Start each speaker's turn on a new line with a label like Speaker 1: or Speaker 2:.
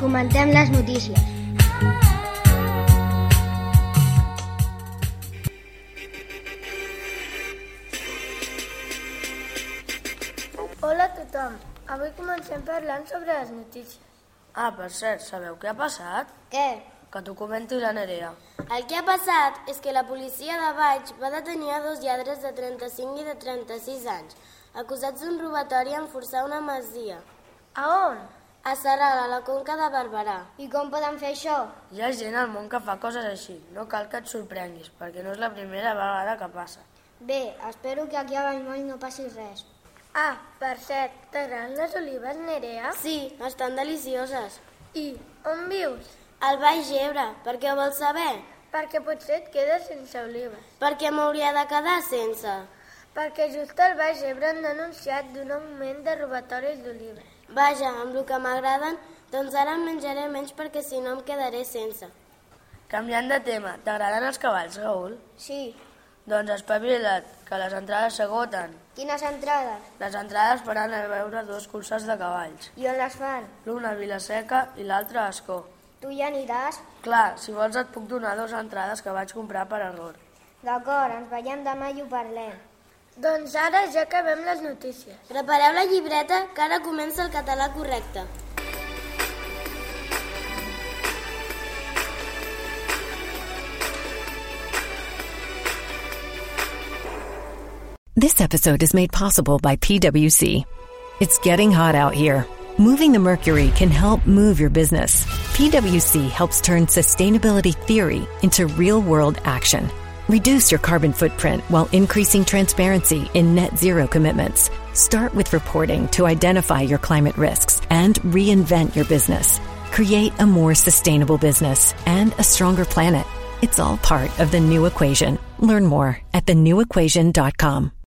Speaker 1: Comentem les notícies.
Speaker 2: Hola a tothom. Avui comencem parlant sobre les notícies.
Speaker 3: Ah, per cert, sabeu què ha passat?
Speaker 2: Què?
Speaker 3: Que t'ho comenti la Nerea.
Speaker 2: El que ha passat és que la policia de Baix va detenir a dos lladres de 35 i de 36 anys, acusats d'un robatori en forçar una masia. A on? A Sarral, a la Conca de Barberà.
Speaker 1: I com poden fer això?
Speaker 3: Hi ha gent al món que fa coses així. No cal que et sorprenguis, perquè no és la primera vegada que passa.
Speaker 1: Bé, espero que aquí a Vallmoll no passi res.
Speaker 2: Ah, per cert, t'agraden les olives, Nerea? Sí, estan delicioses. I on vius? Al Baix Ebre, per què ho vols saber? Perquè potser et quedes sense olives. Per què m'hauria de quedar sense? Perquè just al Baix Ebre han denunciat d'un augment de robatoris d'olives. Vaja, amb el que m'agraden, doncs ara en menjaré menys perquè si no em quedaré sense.
Speaker 3: Canviant de tema, t'agraden els cavalls, Raül?
Speaker 1: Sí.
Speaker 3: Doncs espavila't, que les entrades s'agoten.
Speaker 1: Quines entrades?
Speaker 3: Les entrades faran a veure dos curses de cavalls,
Speaker 1: I on les fan?
Speaker 3: l'una a Vilaseca i l'altra a Ascó.
Speaker 1: Tu hi aniràs?
Speaker 3: Clar, si vols et puc donar dues entrades que vaig comprar per error.
Speaker 1: D'acord, ens veiem demà i ho parlem.
Speaker 2: Doncs ara ja acabem les notícies. Prepareu la llibreta, que ara comença el català correcte.
Speaker 4: This episode is made possible by PWC. It's getting hot out here. Moving the mercury can help move your business. PWC helps turn sustainability theory into real world action. Reduce your carbon footprint while increasing transparency in net zero commitments. Start with reporting to identify your climate risks and reinvent your business. Create a more sustainable business and a stronger planet. It's all part of the new equation. Learn more at thenewequation.com.